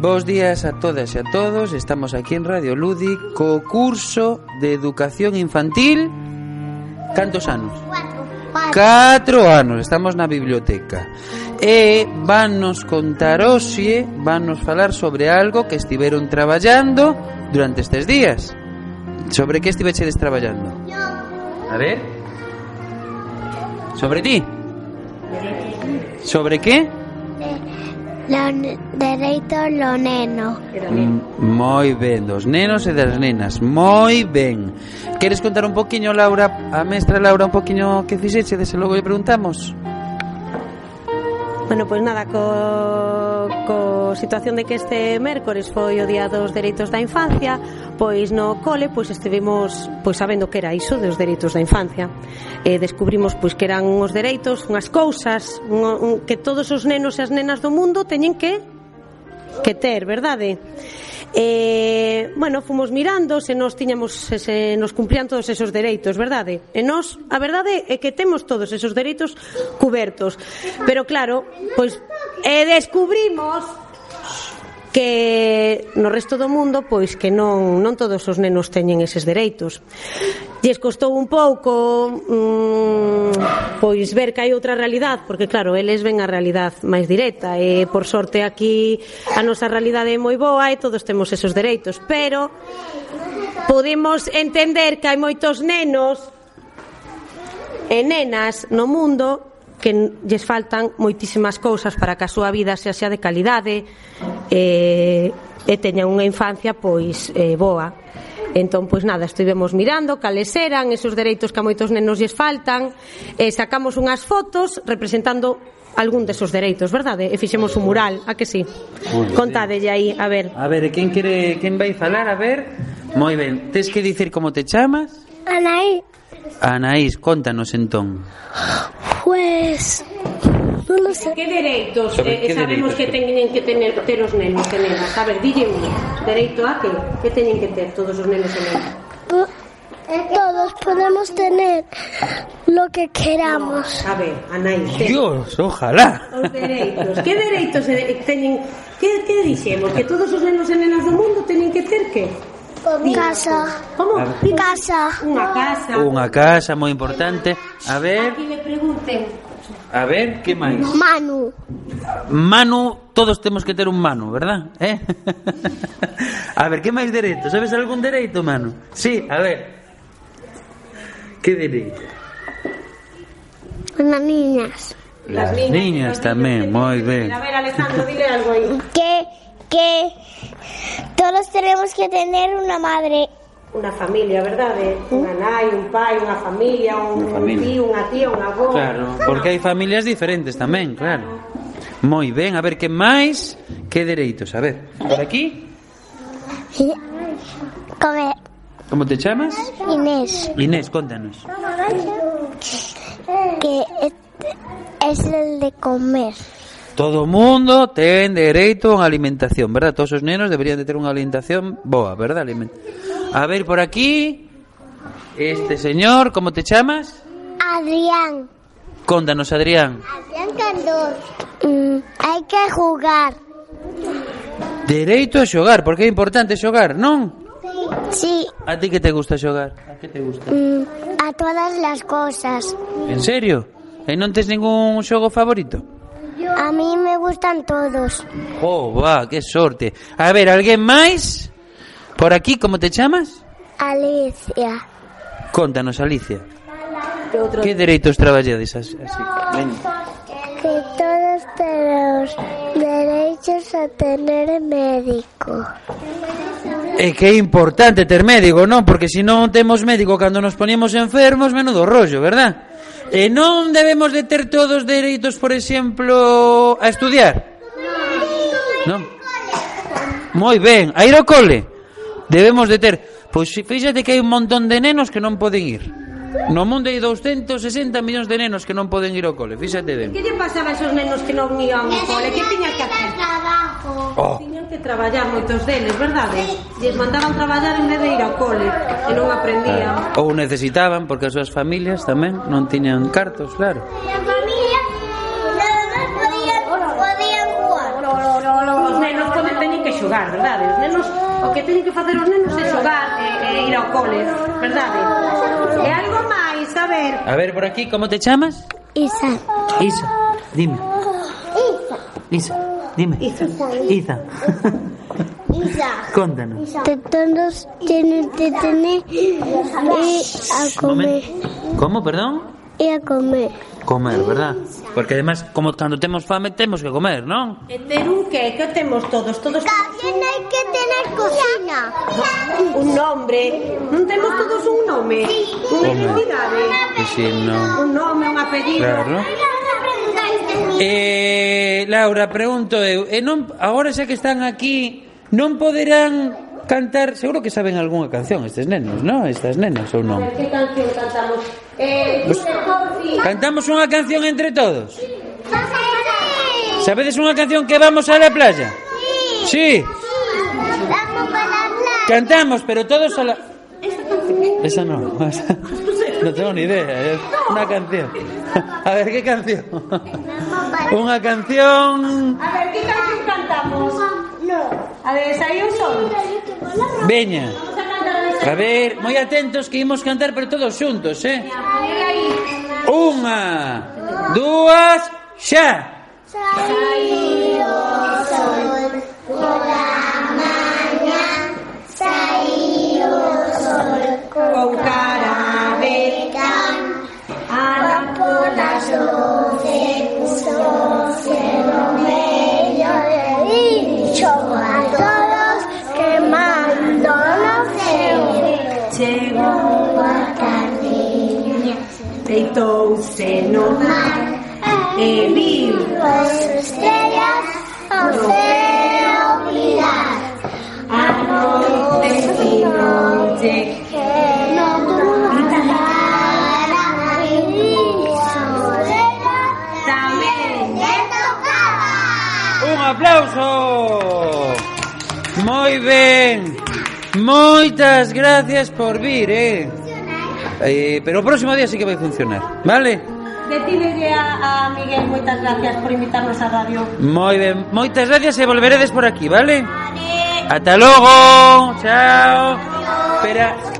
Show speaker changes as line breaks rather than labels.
Bos días a todas e a todos Estamos aquí en Radio Lúdic Co curso de Educación Infantil Cantos anos? Catro anos Estamos na biblioteca E van nos contar hoxe Van nos falar sobre algo que estiveron traballando Durante estes días Sobre que estivechedes traballando? A ver Sobre ti? Sobre que?
Los dereitos los nenos.
Moi ben, dos nenos e das nenas Moi ben Queres contar un poquinho, Laura A mestra Laura un poquinho que fixeche Dese logo lle preguntamos
Bueno, pois nada, co, co situación de que este mércores foi o día dos dereitos da infancia, pois no cole pois estivemos pois sabendo que era iso dos dereitos da infancia. E descubrimos pois que eran uns dereitos, unhas cousas, un, un, que todos os nenos e as nenas do mundo teñen que que ter, verdade? E, bueno, fomos mirando se nos tiñamos se, se nos cumplían todos esos dereitos, verdade? E nos, a verdade é que temos todos esos dereitos cubertos. Pero claro, pois e descubrimos que no resto do mundo pois que non non todos os nenos teñen eses dereitos. Lles costou un pouco mm, pois ver que hai outra realidad, porque claro, eles ven a realidad máis directa e por sorte aquí a nosa realidade é moi boa e todos temos esos dereitos, pero podemos entender que hai moitos nenos e nenas no mundo que lles faltan moitísimas cousas para que a súa vida sea xa de calidade e, e teña unha infancia pois eh, boa entón pois nada, estivemos mirando cales eran esos dereitos que a moitos nenos lles faltan e sacamos unhas fotos representando algún desos dereitos, verdade? E fixemos un mural, a que sí? Contadelle aí, a ver.
A ver, e quen quere, quen vai falar? A ver Moi ben, tes que dicir como te chamas?
Anaí,
Anaís, contanos entón
pues. No lo sé.
Que dereitos
Sobre que
eh,
dereitos,
sabemos que teñen que tener, ter os nenos e nenas? A ver, dille un dereito a que? Que teñen que ter todos os nenos e nenas?
Po- Todos podemos tener lo que queramos.
A ver, Anaís, te-
Dios, ojalá
os dereitos. Que dereitos eh, teñen que, que dixemos? Que todos os nenos e nenas do mundo teñen que ter que?
Casa,
Como?
casa,
Unha casa.
Unha casa moi importante A ver,
Aquí le pregunten.
a ver, que máis?
Manu,
Manu, todos temos que ter un Manu, verdad? Eh? a ver, que máis dereito? Sabes algún dereito, Manu? Sí, a ver. Que dereito?
las niñas.
Las, niñas, tamén, moi ben.
A ver, Alejandro, dile algo aí.
Que, que todos tenemos que tener una madre.
Unha familia, verdade? Unha nai, un pai, unha familia, un,
Unha
un
familia.
tío, unha tía, un avó.
Claro, porque hai familias diferentes tamén, claro. Moi ben, a ver, que máis? Que dereitos? A ver, por aquí,
Comer.
como te chamas?
E. Inés.
Inés, contanos.
Que es, es el de comer.
Todo o mundo ten dereito a unha alimentación, verdad? Todos os nenos deberían de ter unha alimentación boa, verdad? Aliment- A ver, por aquí, este señor, como te chamas?
Adrián.
Contanos, Adrián.
Adrián Candor. Mm, hay que jugar.
Dereito a xogar, porque é importante xogar, non?
Sí,
A ti que te gusta xogar? A que te gusta?
mm, a todas las cosas.
En serio? E non tes ningún xogo favorito?
A mí me gustan todos.
Oh, va, que sorte. A ver, alguén máis? Por aquí, como te chamas?
Alicia.
Contanos, Alicia. Que dereitos traballades as- así? Veña.
Que todos tenemos derechos a tener médico.
E que é importante ter médico, non? Porque se non temos médico cando nos poníamos enfermos, menudo rollo, verdad? E non debemos de ter todos dereitos, por exemplo, a estudiar. Non. Moi ben, a ir ao cole. Debemos de ter... Pois fíxate que hai un montón de nenos que non poden ir. No mundo hai 260 millóns de nenos que non poden ir ao cole, fíxate ben.
Que lle pasaba a esos nenos que non iban ao cole? Que tiñan que hacer?
trabajo.
Oh,
Tiñan que traballar moitos deles, verdade? Lles mandaban traballar en vez de ir ao cole e non aprendían.
ou necesitaban, porque as súas familias tamén non tiñan cartos, claro.
La familia nada más podían, podían jugar.
Os nenos poden teñen que xogar, verdade? Os nenos, o que teñen que facer os nenos é xogar e, e ir ao cole, verdade? E algo máis, a ver.
A ver, por aquí, como te chamas?
Isa.
Isa, dime. Isa, dime.
Isa.
Isa,
Isa.
contanos.
Todos tienen que tener y a comer.
Como, perdón?
Y a comer.
Comer, verdad? Porque además, como cando temos fame, temos que comer, non?
E ter un que? Que temos todos? Todos
También hay que tener cocina.
un nombre. Non temos todos un nome? Unha identidade?
Que si non...
Un nome, un apellido?
Claro. Eh, Laura, pregunto eh, eu, e non, agora xa que están aquí, non poderán cantar, seguro que saben algunha canción estes nenos, non? Estas nenas ou non?
Que canción cantamos? Eh, pues,
Cantamos unha canción entre todos. Sabedes unha canción que vamos a la playa? Sí. Cantamos, pero todos a la Esa non. esa- Non tengo ni idea, é unha canción. A ver, que canción? Unha canción
a ver, que canción cantamos? A ver, saiu o sol?
Veña.
Vamos a cantar a
A ver, moi atentos que imos cantar pero todos xuntos, eh? Unha, dúas, xa.
Con cara de Ana por las
A todos quemándonos
chegou Deitouse no mar e viu
Las estrellas os veo olvidar
a noite e noite
que no durará mi soledad
tamén
te tocaba.
Un aplauso. Moi ben. Moitas gracias por vir, eh? eh pero o próximo día sí que vai funcionar, vale?
Detíbelle a, a Miguel moitas gracias por invitarnos a radio
Moi ben. Moitas gracias e volveredes por aquí, vale? Ata logo. Chao. Espera.